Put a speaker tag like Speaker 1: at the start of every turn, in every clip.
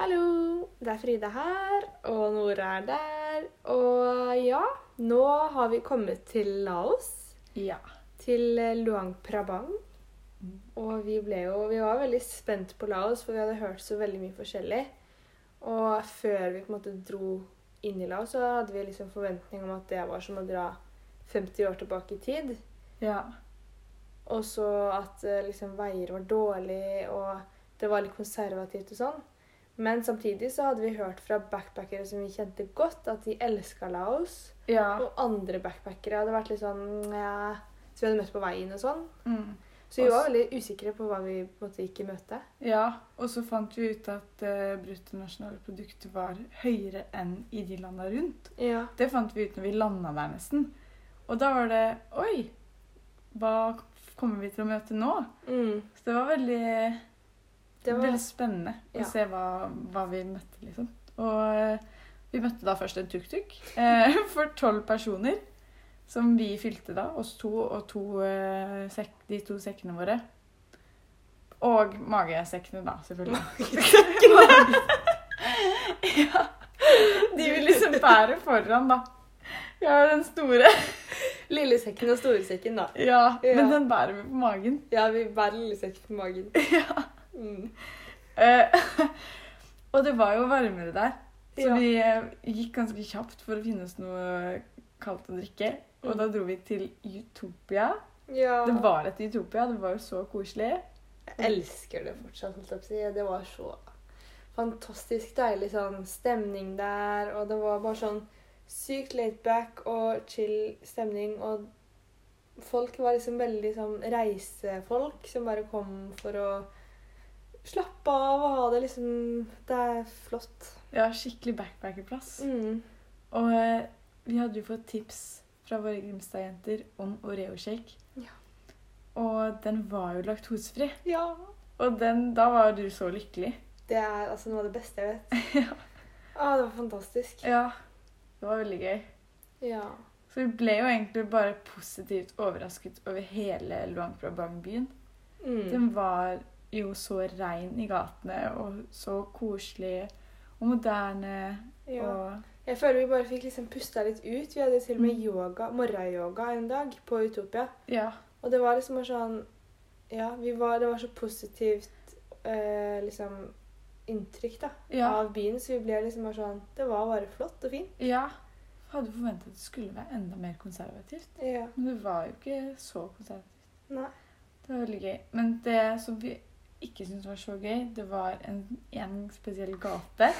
Speaker 1: Hallo, det er Frida her, og Nora er der. Og ja, nå har vi kommet til Laos,
Speaker 2: Ja.
Speaker 1: til eh, Luang Prabang. Og vi ble jo Vi var veldig spent på Laos, for vi hadde hørt så veldig mye forskjellig. Og før vi på en måte dro inn i Laos, så hadde vi liksom forventning om at det var som å dra 50 år tilbake i tid.
Speaker 2: Ja.
Speaker 1: Og så at eh, liksom, veier var dårlig, og det var litt konservativt og sånn. Men samtidig så hadde vi hørt fra backpackere som vi kjente godt, at de elska Laos.
Speaker 2: Ja.
Speaker 1: Og andre backpackere hadde vært litt sånn ja, Som vi hadde møtt på veien og sånn.
Speaker 2: Mm.
Speaker 1: Så vi var
Speaker 2: Også-
Speaker 1: veldig usikre på hva vi på en måte gikk i møte.
Speaker 2: ja. Og så fant vi ut at uh, bruttonasjonalproduktet var høyere enn i de landa rundt.
Speaker 1: Ja.
Speaker 2: Det fant vi ut når vi landa der nesten. Og da var det Oi! Hva kommer vi til å møte nå?
Speaker 1: Mm.
Speaker 2: Så det var veldig,
Speaker 1: Det var
Speaker 2: veldig spennende
Speaker 1: Ja.
Speaker 2: å se hva, hva vi møtte, liksom. Og eh, vi møtte da først en tuk-tuk eh, for tolv personer. Som vi fylte da, oss to og to, eh, sekk, de to sekkene våre. Og magesekkene, da, selvfølgelig. ja. De vi liksom bærer foran, da. Vi har jo den store.
Speaker 1: lillesekken og storesekken, da.
Speaker 2: Ja,
Speaker 1: Ja.
Speaker 2: men den bærer vi på magen.
Speaker 1: Ja, vi bærer lillesekken på magen.
Speaker 2: Ja.
Speaker 1: Mm.
Speaker 2: Eh, og det var jo varmere der, så
Speaker 1: Ja.
Speaker 2: vi eh, gikk ganske kjapt for å finne oss noe kaldt å drikke. Og
Speaker 1: Mm.
Speaker 2: da dro vi til Utopia.
Speaker 1: ja.
Speaker 2: Det var et Utopia, det var jo så koselig.
Speaker 1: Jeg elsker det fortsatt. holdt jeg på å si. Det var så fantastisk deilig sånn stemning der. Og det var bare sånn sykt laidback og chill stemning. Og folk var liksom veldig sånn reisefolk som bare kom for å slappe av og ha det liksom Det er flott.
Speaker 2: Ja, skikkelig backpackerplass.
Speaker 1: Mm.
Speaker 2: Og eh, vi hadde jo fått tips fra våre Grimstad-jenter om Oreo-shake.
Speaker 1: Ja.
Speaker 2: Og den var jo laktosefri.
Speaker 1: Ja.
Speaker 2: Og den, da var du så lykkelig.
Speaker 1: Det er altså noe av det beste jeg vet. ah, det var fantastisk.
Speaker 2: Ja. Det var veldig gøy.
Speaker 1: Ja.
Speaker 2: Så vi ble jo egentlig bare positivt overrasket over hele Luang Prabang-byen.
Speaker 1: Mm.
Speaker 2: Den var jo så rein i gatene og så koselig og moderne.
Speaker 1: ja.
Speaker 2: Og
Speaker 1: Jeg føler vi bare fikk liksom pusta litt ut. Vi hadde til og med yoga, morgenyoga en dag på Utopia.
Speaker 2: ja,
Speaker 1: Og det var liksom bare sånn Ja, vi var, det var så positivt eh, liksom inntrykk da,
Speaker 2: ja,
Speaker 1: av byen, så vi ble liksom bare sånn Det var bare flott og fint.
Speaker 2: ja. Hadde forventet at det skulle være enda mer konservativt.
Speaker 1: Ja.
Speaker 2: Men det var jo ikke så konservativt.
Speaker 1: Nei.
Speaker 2: Det var veldig gøy. Men det som vi ikke syntes var så gøy, det var en, en spesiell gate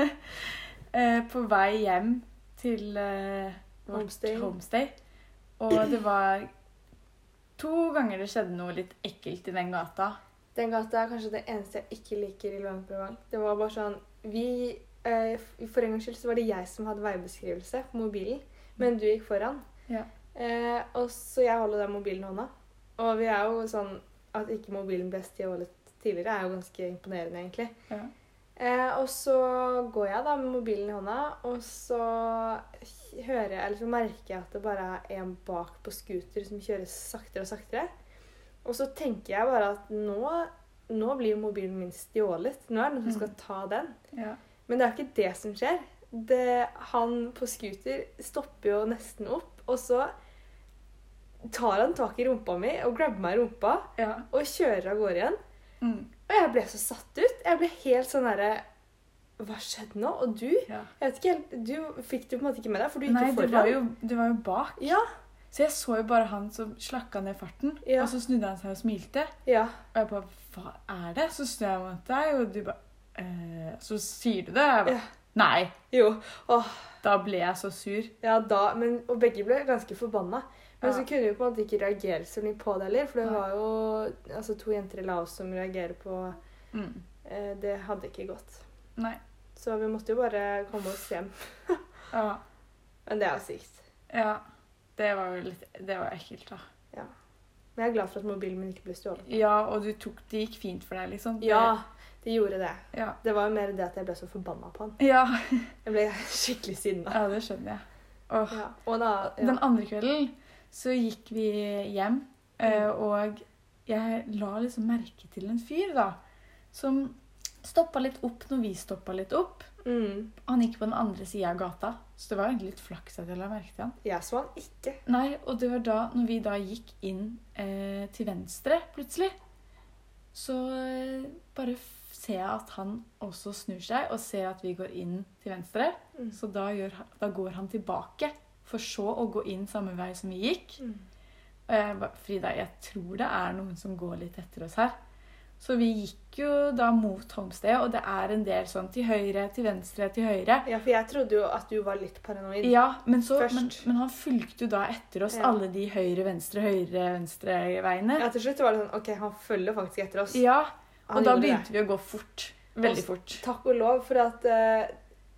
Speaker 2: eh, på vei hjem til eh, vårt
Speaker 1: Homestay.
Speaker 2: homestay. Og det var to ganger det skjedde noe litt ekkelt i den gata.
Speaker 1: Den gata er kanskje det eneste jeg ikke liker i Luang Prabang. Det var bare sånn Vi eh, For en gangs skyld så var det jeg som hadde veibeskrivelse på mobilen, men du gikk foran.
Speaker 2: Ja.
Speaker 1: Eh, og så jeg holder den mobilen i hånda. Og vi er jo sånn At ikke mobilen ble stjålet tidligere, er jo ganske imponerende, egentlig.
Speaker 2: Ja.
Speaker 1: Eh, og så går jeg da med mobilen i hånda, og så hører jeg, eller så merker jeg at det bare er en bak på scooter som kjører saktere og saktere. Og så tenker jeg bare at nå, nå blir jo mobilen min stjålet. Nå er det noen som
Speaker 2: Mm.
Speaker 1: skal ta den.
Speaker 2: Ja.
Speaker 1: Men det er ikke det som skjer. Det, han på scooter stopper jo nesten opp, og så tar han tak i rumpa mi og grabber meg i rumpa
Speaker 2: ja.
Speaker 1: og kjører av gårde igjen.
Speaker 2: Mm.
Speaker 1: Og jeg ble så satt ut. Jeg ble helt sånn derre Hva skjedde nå? Og du?
Speaker 2: ja.
Speaker 1: Jeg vet ikke helt, du fikk det på en måte ikke med deg, for du gikk
Speaker 2: Nei,
Speaker 1: jo
Speaker 2: det
Speaker 1: foran.
Speaker 2: var jo, det var jo bak.
Speaker 1: Ja.
Speaker 2: Så jeg så jo bare han som slakka ned farten,
Speaker 1: Ja.
Speaker 2: og så snudde han seg og smilte.
Speaker 1: ja.
Speaker 2: Og jeg bare Hva er det? Så snur jeg meg mot deg, og du bare eh, Så sier du det? Jeg bare,
Speaker 1: Ja.
Speaker 2: Nei.
Speaker 1: Jo.
Speaker 2: Da ble jeg så sur.
Speaker 1: Ja, da men, Og begge ble ganske forbanna. Men
Speaker 2: Ja.
Speaker 1: så kunne vi på en måte ikke reagere så mye på det heller, for det
Speaker 2: Nei.
Speaker 1: var jo altså, to jenter i Laos som reagerer på
Speaker 2: Mm.
Speaker 1: eh, Det hadde ikke gått.
Speaker 2: Nei.
Speaker 1: Så vi måtte jo bare komme oss hjem.
Speaker 2: Ja.
Speaker 1: Men det er jo sykt.
Speaker 2: Ja. Det var jo litt Det var ekkelt, da.
Speaker 1: Men jeg er glad for at mobilen min ikke ble stjålet.
Speaker 2: Ja, og du tok Det gikk fint for deg, liksom. Det-
Speaker 1: Ja, det gjorde det.
Speaker 2: Ja.
Speaker 1: Det var jo mer det at jeg ble så forbanna på han.
Speaker 2: Ja.
Speaker 1: Jeg ble skikkelig sinna.
Speaker 2: ja, det skjønner jeg. Åh.
Speaker 1: Ja. Og da ja.
Speaker 2: Den andre kvelden så gikk vi hjem,
Speaker 1: Mm.
Speaker 2: eh, og jeg la liksom merke til en fyr, da, som Stoppa litt opp når vi stoppa litt opp.
Speaker 1: Mm.
Speaker 2: Han gikk på den andre sida av gata, så det var egentlig litt flaks at jeg la merke til han.
Speaker 1: Jeg så han ikke.
Speaker 2: Nei, og det var da, når vi da gikk inn eh, til venstre plutselig, så eh, bare f- ser jeg at han også snur seg og ser at vi går inn til venstre.
Speaker 1: Mm.
Speaker 2: Så da, gjør, han- da går han tilbake, for så å gå inn samme vei som vi gikk.
Speaker 1: Mm.
Speaker 2: Og jeg ba, Frida, jeg tror det er noen som går litt etter oss her. Så vi gikk jo da mot Holmsted, og det er en del sånn til høyre, til venstre, til høyre.
Speaker 1: Ja, for jeg trodde jo at du var litt paranoid.
Speaker 2: Ja, men, så,
Speaker 1: Først.
Speaker 2: men, men han fulgte jo da etter oss
Speaker 1: Ja.
Speaker 2: alle de høyre-venstre, høyre-venstre-veiene.
Speaker 1: Ja, til slutt var det sånn OK, han følger faktisk etter oss.
Speaker 2: Ja,
Speaker 1: Han
Speaker 2: og da
Speaker 1: gjorde det.
Speaker 2: begynte vi å gå fort. Veldig fort.
Speaker 1: Takk og lov for at eh,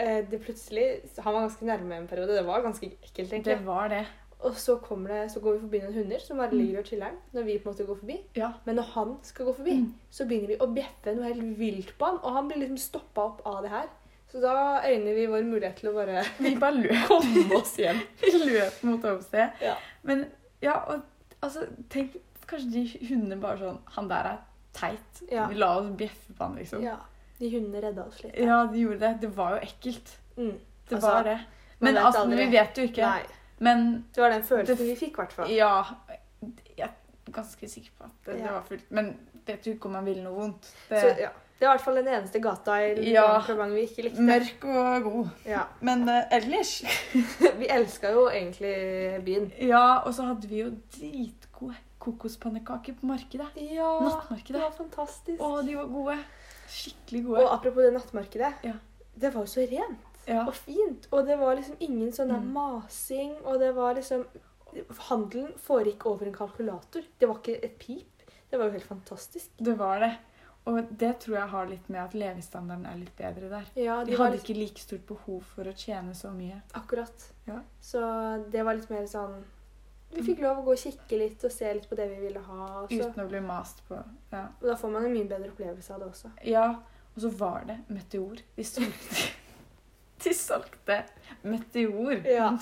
Speaker 1: eh, det plutselig Han var ganske nærme en periode. Det Mm. var ganske ekkelt,
Speaker 2: Det
Speaker 1: egentlig.
Speaker 2: var det.
Speaker 1: Og så, kommer det, så går vi forbi noen hunder som bare ligger og chiller'n når vi på en måte går forbi.
Speaker 2: Ja.
Speaker 1: Men når han skal gå forbi,
Speaker 2: Mm.
Speaker 1: så begynner vi å bjeffe noe helt vilt på han. Og han blir liksom stoppa opp av det her. Så da øyner vi vår mulighet til å bare
Speaker 2: Vi bare løp,
Speaker 1: komme oss hjem.
Speaker 2: vi løp mot Holmsted.
Speaker 1: Ja.
Speaker 2: Men ja, og altså, tenk kanskje de hundene bare sånn Han der er teit.
Speaker 1: Ja.
Speaker 2: Vi la oss bjeffe på han, liksom. Ja.
Speaker 1: Ja. De hundene redda oss litt.
Speaker 2: de gjorde det. Det var jo ekkelt.
Speaker 1: Mm.
Speaker 2: Det
Speaker 1: Altså,
Speaker 2: var det.
Speaker 1: man
Speaker 2: Men
Speaker 1: vet
Speaker 2: altså,
Speaker 1: aldri.
Speaker 2: vi vet jo ikke.
Speaker 1: Nei.
Speaker 2: Men
Speaker 1: Det var den følelsen
Speaker 2: Det-
Speaker 1: vi fikk, i hvert fall.
Speaker 2: ja Jeg er ganske sikker på at det,
Speaker 1: Ja.
Speaker 2: det var fullt. Men vet jo ikke om han ville noe vondt. Det,
Speaker 1: Så, ja. Det var i hvert fall den eneste gata i
Speaker 2: Ja.
Speaker 1: Krabang vi ikke likte.
Speaker 2: Mørk og god.
Speaker 1: Ja.
Speaker 2: Men eh, ellers
Speaker 1: Vi elska jo egentlig byen.
Speaker 2: Ja, og så hadde vi jo dritgode kokospannekaker på markedet.
Speaker 1: Ja, det
Speaker 2: Nattmarkedet.
Speaker 1: var fantastisk.
Speaker 2: Å, de var gode. Skikkelig
Speaker 1: Og
Speaker 2: gode.
Speaker 1: apropos det nattmarkedet.
Speaker 2: Ja.
Speaker 1: Det var jo så rent
Speaker 2: Ja.
Speaker 1: og fint. Og det var liksom ingen sånn der
Speaker 2: Mm.
Speaker 1: masing. Og det var liksom Handelen foregikk over en kalkulator. Det var ikke et pip. Det var jo helt fantastisk.
Speaker 2: Det var det. Og det tror jeg har litt med at levestandarden er litt bedre der.
Speaker 1: Ja,
Speaker 2: De
Speaker 1: det var
Speaker 2: hadde
Speaker 1: litt,
Speaker 2: ikke like stort behov for å tjene så mye.
Speaker 1: akkurat.
Speaker 2: Ja. Mm.
Speaker 1: Så det var litt mer sånn Vi fikk lov å gå og kikke litt og se litt på det vi ville ha. og Så.
Speaker 2: Uten å bli mast på. Ja.
Speaker 1: Og da får man en mye bedre opplevelse av det også.
Speaker 2: ja. Og så var det Meteor. De solgte De solgte Meteor.
Speaker 1: Ja.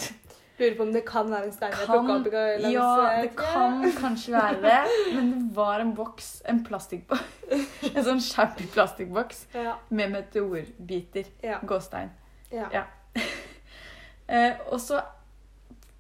Speaker 1: Lurer på om det kan være en stein jeg
Speaker 2: Kan-
Speaker 1: plukka opp i går langs
Speaker 2: Ja,
Speaker 1: eh,
Speaker 2: det
Speaker 1: treet.
Speaker 2: kan kanskje være det. Men det var en boks, en plastikkboks, en sånn shabby plastikkboks
Speaker 1: Ja,
Speaker 2: med meteorbiter.
Speaker 1: ja,
Speaker 2: Gåstein.
Speaker 1: ja.
Speaker 2: Eh, og så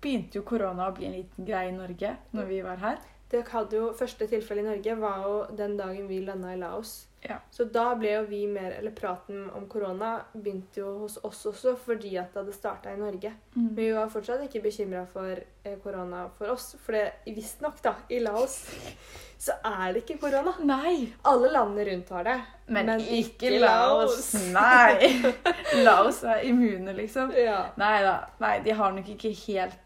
Speaker 2: begynte jo korona å bli en liten greie i Norge når vi var her.
Speaker 1: Det hadde jo, Første tilfelle i Norge var jo den dagen vi landa i Laos.
Speaker 2: Ja.
Speaker 1: Så da ble jo vi mer Eller praten om korona begynte jo hos oss også fordi at det hadde starta i Norge. Men
Speaker 2: Mm.
Speaker 1: vi var fortsatt ikke bekymra for eh, korona for oss. For det visstnok, da, i Laos så er det ikke korona.
Speaker 2: Nei!
Speaker 1: Alle landene rundt har det.
Speaker 2: Men,
Speaker 1: Men
Speaker 2: ikke
Speaker 1: ikke
Speaker 2: Laos.
Speaker 1: Laos.
Speaker 2: Nei! Laos er immune, liksom.
Speaker 1: Ja.
Speaker 2: Nei da. Nei, de har nok ikke helt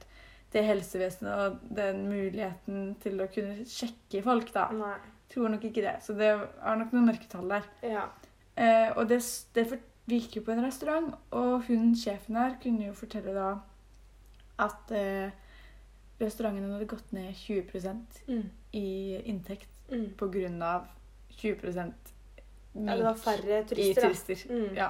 Speaker 2: det helsevesenet og den muligheten til å kunne sjekke folk, da.
Speaker 1: Nei.
Speaker 2: Tror nok ikke det. Så det er nok noen mørketall der.
Speaker 1: Ja.
Speaker 2: Eh, og det, det for, vi gikk jo på en restaurant, og hun, sjefen her kunne jo fortelle da at eh, restauranten hadde gått ned 20
Speaker 1: Mm.
Speaker 2: i inntekt
Speaker 1: Mm.
Speaker 2: pga. 20
Speaker 1: ja. Det var færre
Speaker 2: i
Speaker 1: turister, da.
Speaker 2: turister.
Speaker 1: Mm.
Speaker 2: Ja.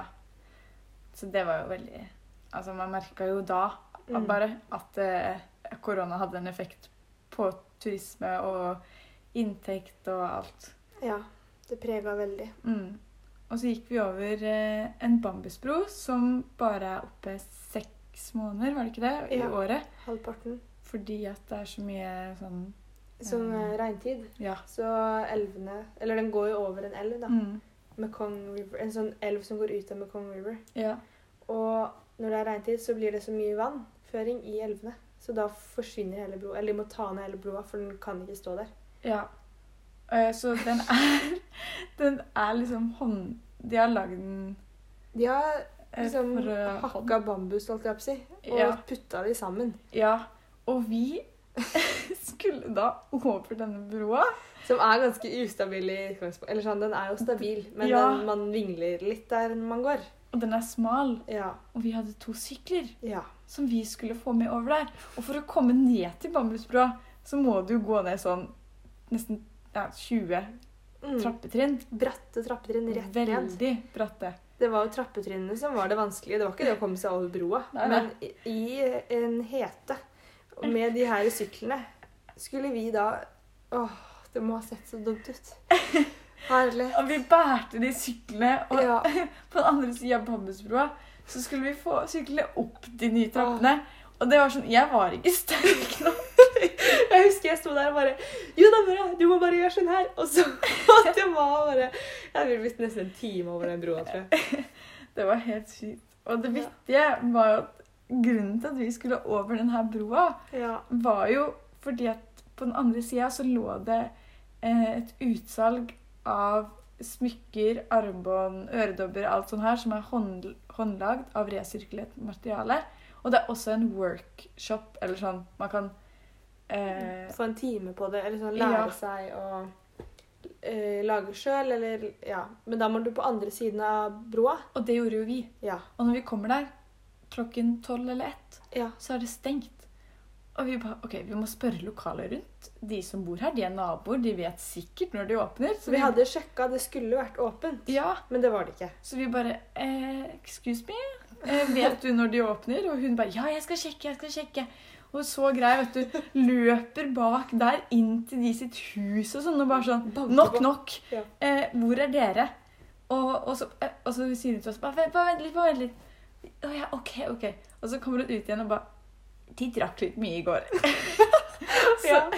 Speaker 2: Så det var jo veldig Altså, man merka jo da at
Speaker 1: Mm.
Speaker 2: bare at eh, korona hadde en effekt på turisme og inntekt og alt.
Speaker 1: Ja. Det prega veldig.
Speaker 2: Mm. Og så gikk vi over eh, en bambusbro som bare er oppe seks måneder, var det ikke det, i
Speaker 1: Ja.
Speaker 2: året.
Speaker 1: Halvparten. Fordi
Speaker 2: Fordi at det er så mye sånn
Speaker 1: Som
Speaker 2: Mm.
Speaker 1: eh, regntid.
Speaker 2: Ja.
Speaker 1: Så elvene Eller den går jo over en elv, da.
Speaker 2: Mm.
Speaker 1: Mekong River. En sånn elv som går ut av Mekong River.
Speaker 2: ja.
Speaker 1: Og når det er regntid, så blir det så mye vannføring i elvene. Så da forsvinner hele broa. Eller de må ta ned hele broa, for den kan ikke stå der.
Speaker 2: Ja. Eh, Så den er Den er liksom hånd... De har lagd den
Speaker 1: De har
Speaker 2: eh,
Speaker 1: liksom
Speaker 2: for å hånd-
Speaker 1: hakka bambus, holdt jeg på å si, og
Speaker 2: Ja.
Speaker 1: putta de sammen.
Speaker 2: Ja. Og vi skulle da over denne broa.
Speaker 1: Som er ganske ustabil i utgangspunktet. Eller sånn, den er jo stabil, men
Speaker 2: Ja.
Speaker 1: den, man vingler litt der man går.
Speaker 2: Og den er smal.
Speaker 1: Ja.
Speaker 2: Og vi hadde to sykler
Speaker 1: Ja.
Speaker 2: som vi skulle få med over der. Og for å komme ned til bambusbroa, så må du jo gå ned sånn nesten ja, 20
Speaker 1: Mm.
Speaker 2: trappetrinn.
Speaker 1: Bratte trappetrinn rett ned.
Speaker 2: Veldig bratte.
Speaker 1: Det var jo trappetrinnene som var det vanskelige. Det var ikke det å komme seg over broa.
Speaker 2: Nei, nei.
Speaker 1: Men i- i en hete med de her syklene skulle vi da Åh, det må ha sett så dumt ut. Herlig.
Speaker 2: Og vi bærte de syklene, og
Speaker 1: Ja.
Speaker 2: på den andre sida av Bambusbroa så skulle vi få sykle opp de nye trappene. Og det var sånn Jeg var ikke sterk nok.
Speaker 1: Jeg husker jeg sto der og bare Jo da, Mara, du må bare gjøre sånn her. Og så og det var bare Jeg ville visst nesten en time over den broa, tror jeg.
Speaker 2: Det var helt sykt. Og det vittige var jo at grunnen til at vi skulle over denne broa,
Speaker 1: Ja.
Speaker 2: var jo fordi at på den andre sida så lå det eh, et utsalg av smykker, armbånd, øredobber, alt sånt her, som er hånd, håndlagd av resirkulert materiale. Og det er også en workshop, eller sånn man kan eh,
Speaker 1: Få en time på det, eller sånn lære
Speaker 2: Ja.
Speaker 1: seg å eh, lage sjøl, eller Ja. Men da må du på andre siden av broa.
Speaker 2: Og det gjorde jo vi.
Speaker 1: Ja.
Speaker 2: Og når vi kommer der klokken tolv eller ett,
Speaker 1: Ja.
Speaker 2: så er det stengt. Og vi bare OK, vi må spørre lokalet rundt. De som bor her, de er naboer, de vet sikkert når de åpner.
Speaker 1: Så vi hadde sjekka, det skulle vært åpent,
Speaker 2: Ja,
Speaker 1: men det var det ikke.
Speaker 2: Så vi bare eh, Excuse me, eh, vet du når de åpner? Og hun bare Ja, jeg skal sjekke, jeg skal sjekke. Og så grei, vet du. Løper bak der inn til de sitt hus og sånn. Og bare sånn Nok, nok.
Speaker 1: Ja.
Speaker 2: Eh, hvor er dere? Og, og, så, eh, og så sier hun til oss bare Vent, bare vent litt, bare vent litt. Å ja, OK, OK. Og så kommer hun ut igjen og bare De drakk litt mye i går. så
Speaker 1: Ja.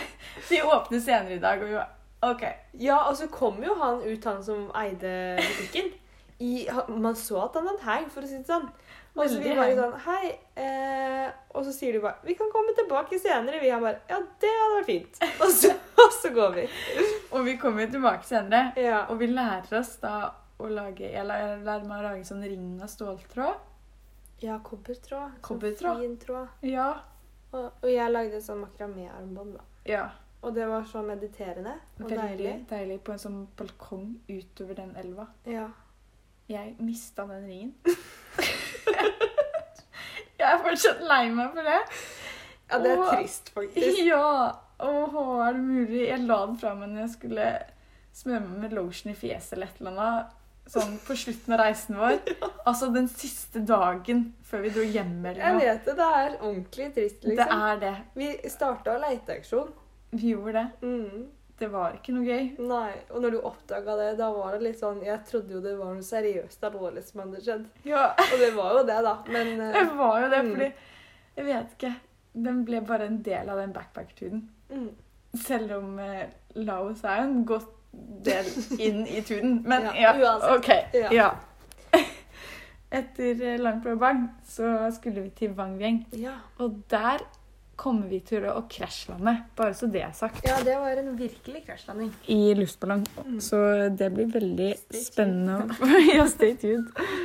Speaker 2: de åpner senere i dag, og vi bare OK.
Speaker 1: Ja, og så kom jo han ut, han som eide butikken. I, han- man så at han hadde heng, for å si det sånn. Og så vi
Speaker 2: Veldig
Speaker 1: bare
Speaker 2: heng.
Speaker 1: sånn Hei. Eh, og så sier de bare Vi kan komme tilbake senere. Vi han bare Ja, det hadde vært fint. Og så, og så går vi.
Speaker 2: Og vi kommer jo tilbake senere.
Speaker 1: Ja.
Speaker 2: Og vi lærer oss da å lage Jeg lærer, lærer meg å lage sånn ring av ståltråd.
Speaker 1: ja kobbertråd. Sånn
Speaker 2: Kobbertråd.
Speaker 1: Fin tråd.
Speaker 2: Ja.
Speaker 1: Og, og jeg lagde et sånn makramé-armbånd, da.
Speaker 2: ja.
Speaker 1: Og det var så mediterende og
Speaker 2: Veldig
Speaker 1: deilig.
Speaker 2: deilig. på en sånn balkong utover den elva.
Speaker 1: Ja.
Speaker 2: Jeg mista den ringen. jeg er fortsatt lei meg for det.
Speaker 1: ja, det er
Speaker 2: Åh.
Speaker 1: trist, faktisk.
Speaker 2: Ja! Åh, er det mulig? Jeg la den fra meg når jeg skulle smøre meg med lotion i fjeset eller et eller annet. Sånn på slutten av reisen vår. Altså den siste dagen før vi dro hjem.
Speaker 1: Jeg
Speaker 2: Eller noe.
Speaker 1: vet det. Det er ordentlig trist,
Speaker 2: Det
Speaker 1: liksom.
Speaker 2: er det.
Speaker 1: Vi starta leiteaksjon.
Speaker 2: Vi gjorde det.
Speaker 1: Mm.
Speaker 2: Det var ikke noe gøy.
Speaker 1: Nei, og når du oppdaga det, da var det litt sånn Jeg trodde jo det var noe seriøst alvorlig som hadde skjedd.
Speaker 2: Ja,
Speaker 1: Og det var jo det, da. Men
Speaker 2: det
Speaker 1: eh,
Speaker 2: var jo det,
Speaker 1: Mm.
Speaker 2: fordi Jeg vet ikke. Den ble bare en del av den backpack-turen.
Speaker 1: mm,
Speaker 2: Selv om eh, Laos er jo en godt del inn i turen. Men
Speaker 1: Ja,
Speaker 2: ja,
Speaker 1: uansett.
Speaker 2: OK.
Speaker 1: Ja.
Speaker 2: Ja. Etter eh, Langflåbang så skulle vi til Wangvieng,
Speaker 1: ja.
Speaker 2: og der kommer vi til å krasjlande, bare så det er sagt,
Speaker 1: ja, det var en virkelig krasjlanding.
Speaker 2: i luftballong.
Speaker 1: Mm.
Speaker 2: Så det blir veldig
Speaker 1: Stay tuned.
Speaker 2: spennende. å- ja, stay tuned.